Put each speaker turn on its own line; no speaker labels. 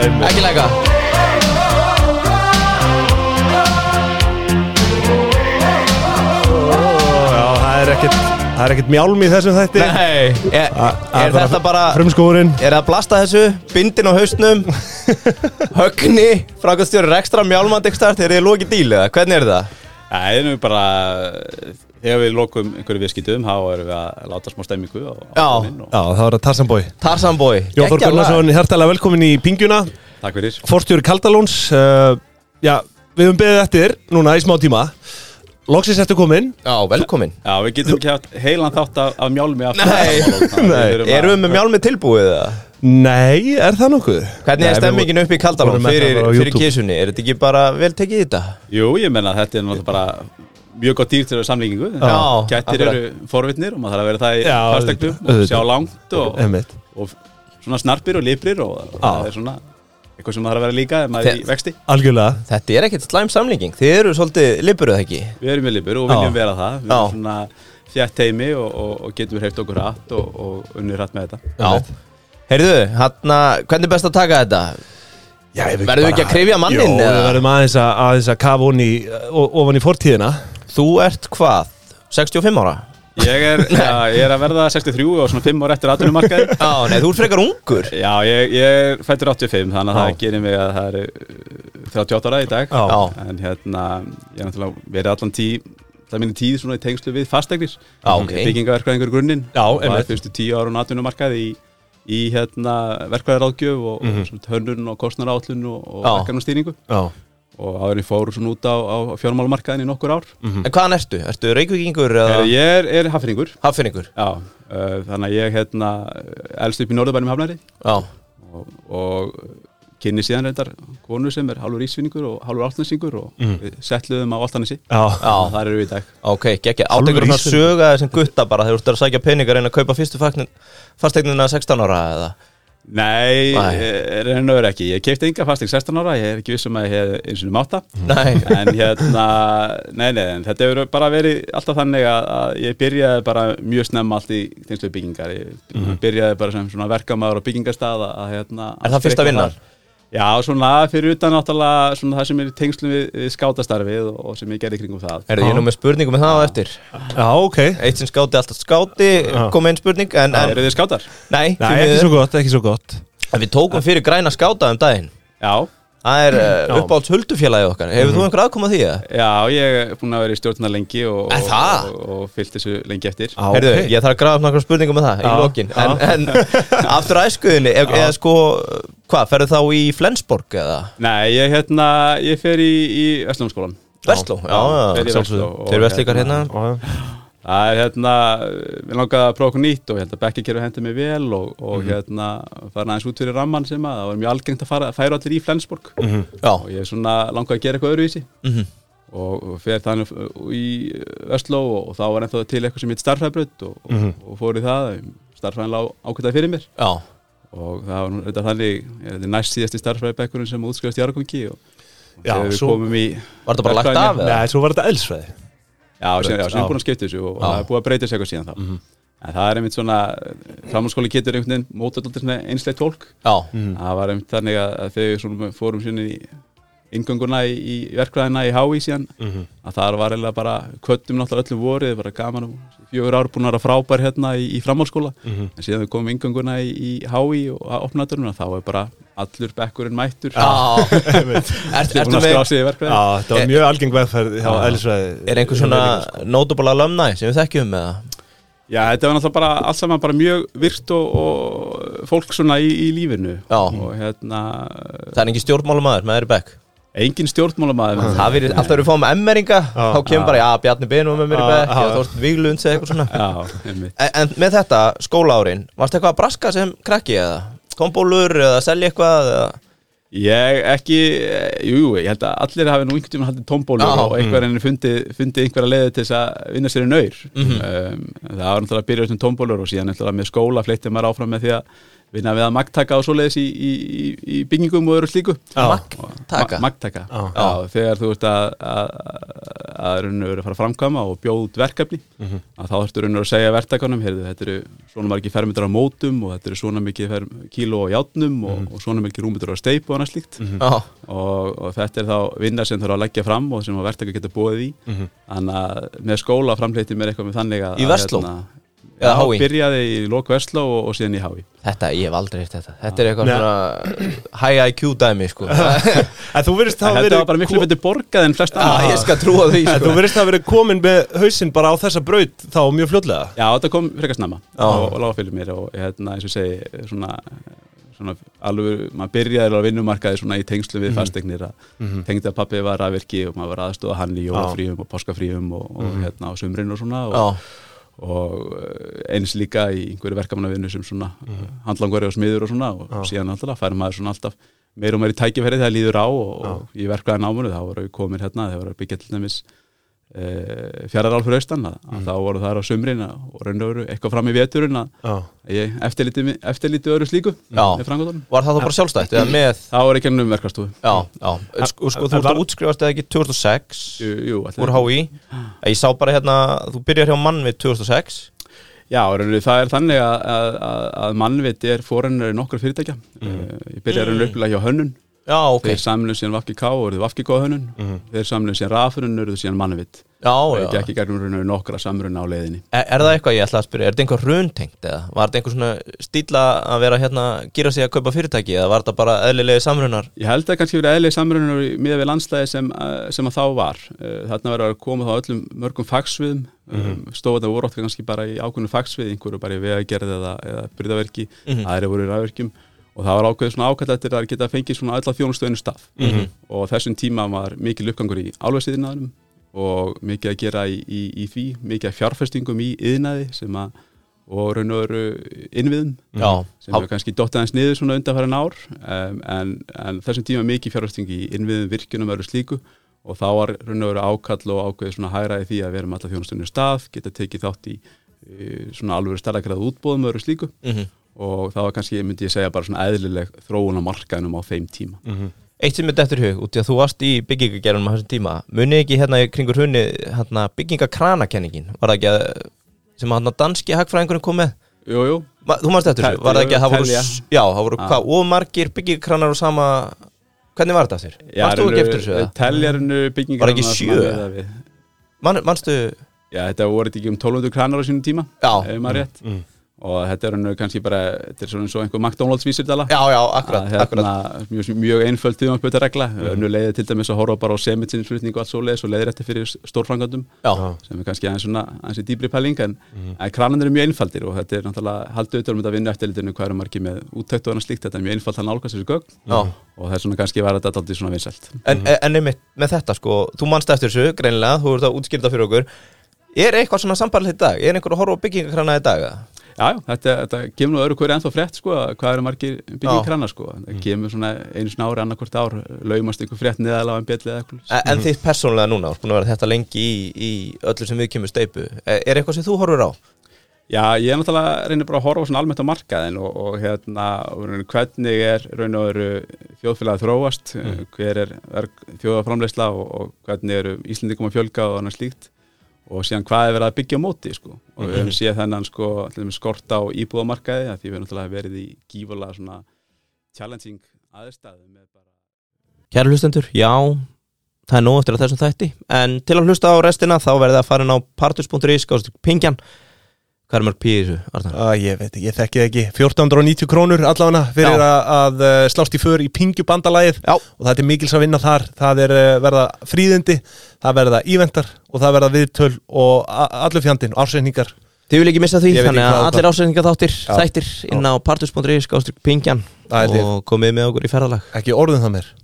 Veronica
Já, það er ekkert Það er ekkert mjálm í þessum þætti
Nei, er,
A- að
er þetta bara
Frumskóðurinn
Er það að blasta þessu, bindin á hausnum Högni, frákvæmstjóri Rekstra, mjálmand ykkur start, er þið lokið díl eða? Hvernig er það?
Það er nú bara, þegar við lokum einhverju viðskiptum, þá erum við að láta smá stemmingu á, á
Já.
tóninn og
Já, það var að Tarzanbói
Tarzanbói
Jón Þór Gunnarsson, hjartalega velkomin í Pingjuna
takk fyrir.
Forstjóri Kaldalóns uh, Já, við höfum beðið eftir núna í smá tíma Loksins eftir komin
Já, velkomin
Já, við getum ekki haft heilan þátt af, af mjálmi aftur.
Nei.
Nei.
Erum við með mjálmið tilbúið eða?
Nei, er það nokkuð?
Hvernig er
Nei, við
stemmingin upp í Kaldalón
vorum með
fyrir,
það bara á
fyrir
YouTube.
kísunni? Er þetta ekki bara vel tekið í þetta?
Jú, ég menna að þetta er náttúrulega bara mjög gott dýr til að samlíkingu.
Já,
Kettir
akkurat.
eru forvitnir og maður þarf að vera það í
Já,
fastegnum og
auðvitað.
sjá langt og,
Einmitt.
og svona snarpir og liprir og það er svona eitthvað sem maður þarf að vera líka ef maður er í
Þe-
vexti.
Algjörlega
Þetta er ekkert slæm samlíking Þið eru svolítið liburuð ekki?
Við erum með lipur og viljum
Já.
vera það. Við
Já.
erum svona þjætt heimi og, og, og getum hreift okkur hratt og, og unnið hratt með þetta.
Heyrðu, hann hvernig er best að taka þetta?
Já, ég
Verðum við
veit bara-
ekki að kryfja manninn,
Jó,
eða?
við verðum aðeins að, aðeins að kafa ofan í, o- ofan í fortíðina
Þú ert hvað? 65 ára?
Ég er, já, ég er að verða 63 og svona 5 ára eftir atvinnumarkaði
Já, nei, þú ert frekar ungur
Já, ég, ég er fættur 85 þannig að
Já.
það gerir mig að það er uh, 38 ára í dag
Já.
Já.
En hérna, ég er náttúrulega verið allan tí Það minni tíð svona í tengslu við fastegnir
Já, ok.
Byggingaverkvæðingur grunninn
Já,
Og
einmitt.
var fyrstu tíu ára á atvinnumarkaði í, í hérna, verkvæðaráðgjöf og, mm og hönnun og kostnarállun og, og
Mhm. Já.
verkefnastýringu
Já
Og áður en ég fór svona út á, á fjármálumarkaðin í nokkur ár mm.
En hvaðan ertu? Ertu reykvíkingur eða
Ég er, er haffringur
haffinningur?
Já, uh, þannig að ég hérna elst upp í Norðurbænum hafnari
Já,
og, og kynni síðan reyndar konu sem er hálfur ísvinningur og hálfur áltanesingur og við settluðum á áltanesi
Já,
já,
og þar eru við í dag.
ok, geggja Átekur hann að
ísinn.
söga þessum gutta bara þegar þú ert að sækja peningar en að kaupa fyrstu fagnin, fastegnina 16 ára eða
Nei, e,
Nei.
reynur er ekki. Ég keipti enga fasting 16 ára, ég er ekki vissum að ég hef eins og máta.
Nei,
En hérna, nei, nei, en þetta hefur bara verið alltaf þannig að, að ég byrjaði bara mjög snemma allt í tengslu við byggingar. Ég byrjaði bara sem svona verkamaður á byggingarstað að hérna...
Mhm. Er það fyrsta vinnan?
Já, svona fyrir utan náttúrulega svona það sem er í tengslum við, við skátastarfið og, og sem ég gerði kringum það.
er ég nú með spurningum með það á eftir
já ok
Eitt sem skáti, alltaf skáti,
Já.
kom einn spurning en, en,
Eru þið skátar?
nei, því
Nei, ekki
miður.
svo gott, ekki svo gott
En Við tókum fyrir græna skáta um daginn
Já,
Það er uh, uppáhalds huldufélagið okkar Hefur þú einhver aðkoma því eða?
já, ég er búin að vera í stjórna lengi og,
Er
og,
það? Ah.
og, og fyllt þessu lengi eftir.
Já.
Herðu,
ok.
ég þarf að grafa upp nokkra spurningum með það í
Já,
lokin En, en aftur æskuðinni, ef, eða sko, hvað, ferðu þá í Flensborg eða?
Nei, ég hérna, ég fer í, í Vestlumskólan.
Vestló, já,
fer
já,
í Vestló. og
Þeir vestlíkar hérna
Já,
Það er hérna, við langaði að prófa okkur nýtt og hérna bekkikerfi hendi mig vel og, og
Mhm.
hérna farin aðeins út fyrir ramman sem að það var mjög algengt að fara, færa allir í Flensborg
Mhm.
og
Já,
ég er svona langaði að gera eitthvað öðruvísi
Mhm.
og, og fer þannig f- í Vestló og, og þá var ennþá til eitthvað sem heit starfræðbrödd og, mm
Mhm.
og fór í það, starfræðin lá ákveðað fyrir mér
já,
og það var nú þetta þannig, ég- þetta er næst síðasti starfræðbekkurinn sem útskrifast í Arkongi og, og
Já,
þegar við
svo-
komum í
var þetta bara lagt af eða?
Nei, svo var þetta elsfræði
Já, síðan, já, síðan
Já.
búin að skipta þessu og og það er búin að breyta þessu eitthvað síðan þá. En það er einmitt svona, framhanskóli getur einhvern veginn mótað alltaf svona einsleitt fólk.
Já,
Það var einmitt þannig að að þegar við svona fórum síðan í ingönguna í, í verkvæðina í HÍ síðan, að það var eiginlega bara, köttum náttúrulega öllum vorið, bara gaman og fjögur ár búin að vera frábær hérna í, í framhalskóla. En síðan við komum ingönguna í, í HÍ og að opnaðurinn, þá er bara allur bekkurinn mættur.
já Ert-
Ertu
Ertu
með?
með,
Sig í
Já,
verkfræði.
þetta var mjög algeng veðferð hjá elsfræði
er einhver svona notable alumni sem við þekkjum eða?
Já, þetta var náttúrulega bara allt saman bara mjög virt og, og fólk svona í, í lífinu
Já.
og hérna
Það er engin stjórnmálamaður með þeirri bekk
engin stjórnmálamaður með
Það verið, alltaf verið fáum emmeringa, þá kemur bara, já, Bjarni Benu með mér í
Já,
bekk,
já.
já, Þorsten Víglunds eða eitthvað svona
Já, einmitt.
En, en með þetta, skólaárin, varst eitthvað að braska sem krakki eða? Tombólur eða selja eitthvað eða?
Ég ekki, jú, jú, ég held að allir hafi nú einhvern tímann haldið tombólur
Já.
og einhver enn fundið fundi einhverja leiði til þess að vinna sér í
Mhm.
naur um, Það var náttúrulega að byrja sem tombólur og síðan náttúrulega með skóla fleitti maður áfram með því að vinna við að magtaka og svoleiðis í, í, í, í byggingum og öru slíku
Já,
Taka.
magtaka
Já.
Já, þegar þú ert að að, að rauninu verið að fara að framkama og bjóða út verkefni
Mhm.
að þá ertu rauninu að segja verktakanum heyrðu, þetta eru svona margir fermetrar á mótum og þetta eru svona mikið ferm- kíló á játnum og,
Mhm.
og svona mikið rúmetrar á steipu og annað slíkt
Mhm.
Já.
og, og þetta er þá vinna sem þarf að leggja fram og sem að verktaka geta búið í þannig að með skóla framleyti mér eitthvað með þannig að
Mhm. Í
að,
Versló?
hérna,
Eða HÍ?
Já, byrjaði í lok Vestló og, og síðan í Hái
Þetta, ég hef aldrei hitt þetta Þetta er eitthvað
Nei.
svona high IQ dæmi sko Já,
en þú verðist hafa
Þetta
verið
var bara miklu betur borgað en flest
ég skal trúa því
en
sko
þú verðist hafa verið komin með hausinn bara á þessa braut þá mjög fljótlega
Já, þetta kom frekar snemma
Já.
og, og lága fyrir mér og hérna, eins og ég segi svona, svona alveg, maður byrjaði á vinnumarkaði svona í tengslu
Mhm.
við fasteignir að tengdi að pappi var að verki og maður var aðstofa hann í jólafríum og páskafríum og, og hérna á sumrin og svona
Mhm.
og,
Já,
og eh, eins líka í einhverju verkamannavinnu sem svona
Mhm.
mm. handlangari og smiður og svona og síðan alltaf fær maður svona alltaf meir og meir í tækifæri þegar líður á og, og ég verkaði námunu þá voru við komin hérna þegar voru að byggja til dæmis e, fjarrarál fyrir austan að,
Mhm.
að þá voru þar á sumrin að- og raun og veru eitthvað fram í veturinn að
Já,
ég eftirlítið mi- eftirlítið öru slíku
Já.
með framgóðanum
var það þá bara sjálfstætt eða með
þá er ekki ennum verkastofu
Já, já, En sko, sko þú
en
ert
var-
að útskrifast eða ekki 2006
Jú, jú, ætli-
úr HÍ
Ah.
Að Ég sá bara hérna, þú byrjar hjá mann við 2006
Já, rauninu, það er þannig að, að, að- að mannviti er fórennur í nokkur fyrirtækja
Mhm.
mm. ég byrjaði rauninu uppilega hjá hönnun
Já, ok
Þeir samlum síðan Vafki K og eruðu Vafki K hönnun Þeir samlum síðan Rafurinn og eruðu síðan Mannvitt
Já,
Það
já
er ekki gætum rauninu nokkra samruna á leiðinni
Er, er það eitthvað ég ætla að spyrja, er þetta einhver runtengt eða? Var þetta einhver svona stíla að vera hérna, gera sig að kaupa fyrirtæki eða var þetta bara eðlilegi samrunar?
Ég held að kannski verið eðlið samruna miða við landslæði sem, eh, sem að þá var Eh, Þarna verður að koma þá öllum mörgum fagsviðum mm -hmm. Stóðan voru oft kannski bara í ákveðnum fagsvið einhverju bara í vegagerð eða, eða brytaverki aðri voru í rafverkjum og það var ákveðið svona ákvæðlega til að geta fengið svona alla þjónustöðinu staf -hmm. og á þessum tíma var mikil uppgangur í álversiðinaðanum og mikið að gera í, í, í því mikið að fjárfestingum í yðnaði sem að og raun og veru innviðum
Já,
Mhm. sem hefur kannski dottið hans niður svona undanfæran ár um, en, en þessum tíma mikið fjárfesting í innviðum virkjunum eru slíku og þá var raun og veru ákall og ákveðið svona hægraði því að við erum alla þjónustunni stað, geta tekið þátt í eh, svona alveg stærðakræða útbóðum eru slíku
Mhm.
og það var kannski, myndi ég segja, bara svona eðlileg þróun á markaðinum á þeim tíma
Mm. Eitt sem er dettur í hug, út í að þú varst í byggingagerunum á þessum tíma, munið ekki hérna í kringur húnni hérna, byggingakranakenningin, var það ekki að, sem að hérna danski hagfræðingurinn kom með?
Jú, jú,
Ma, þú manst eftir þessu,
Tel-
var það ekki að það voru,
telja. Ah.
s- já, það voru
Já.
hvað, ómargir byggingakranar og sama, hvernig var þetta þér? Manstu ekki eftir þessu? eða?
Teljarinu byggingar
Var ekki sjö? Man, manstu,
Já, þetta voru þetta ekki um 1200 kranar á sínum tíma
Já. Mm.
ef maður rétt og þetta er hann kannski bara, þetta er svona eins og einhver McDonalds vísirdala
já, já,
Ah,
akkurat,
hérna.
akkurat, Mhm.
mjög, mjög einföld tímaspöta regla mm. önnu leiði til dæmis að horfa bara á semitsinnsflutning og allt svo leiðis og leiðir þetta fyrir stórfrangandum
já, Mhm.
sem er kannski aðeins svona aðeins í dýbri pæling en, en krananir eru mjög einfaldir og þetta er náttúrulega haldið auðvitað um þetta vinnu eftirlitinu hvað eru margir með úttækt og annað slíkt þetta er mjög einfald að nálgast þessu gögn
já.
og þess vegna kannski var þetta alltaf svona vinsælt
En, en einmitt með þetta sko, þú manst eftir þessu greinilega, þú ert að útskýrta fyrir okkur Er eitthvað svona sambarlið í dag? Er einhver að horfa á byggingakrana í dag? eða?
Já, já, þetta, þetta kemur nú öðru hverju ennþá frétt sko, að hvað eru margir byggingkranar sko.
Mhm.
það kemur svona einu sinna ári annarkvort ár laumast einhver frétt neðalega en bjallið eða eitthvað
En, en þitt persónulega núna, þú ert búin að vera þetta lengi í, í öllu sem við kemur steipu Er er eitthvað sem þú horfur á?
Já, ég er náttúrulega reynir bara að horfa svona almennt á markaðin og, og hérna og raunar, hvernig er raun og veru þjóðfélag að þróast, mm. hver er, er þjóðaframleysla og, og hvernig eru Íslendingum að fjölga og annars slíkt og síðan hvað er verið að byggja á móti sko. og við höfum séð þennan sko, til dæmis skort á íbúðamarkaði að því við höfum náttúrulega verið í gífulega svona challenging aðstæðum með bara
Kæra hlustendur, já, það er nóg eftir að þessum þætti En til að hlusta á restina þá verðið að fara inn á partus.is Gáðstu pingjan Hvað er mörg píð í þessu, Arnar?
Æ, ég veit ekki, ég þekki það ekki 1490 krónur allavega fyrir
Já.
að, að eh, slást í för í pingjubandalagið
Já.
og það er mikils að vinna þar það er eh, verða fríðindi, það verða íventar og það verða viðtöl og a- allur fjandinn, ársreiningar
Þið vil ekki missa því,
Ég veit ekki
þannig að
hvað
allir ásendingar þáttir,
Já.
þættir inn á partus.is Gáðstu pingjan
Það er til.
Og komið með okkur í ferðalag
ekki orðum það mér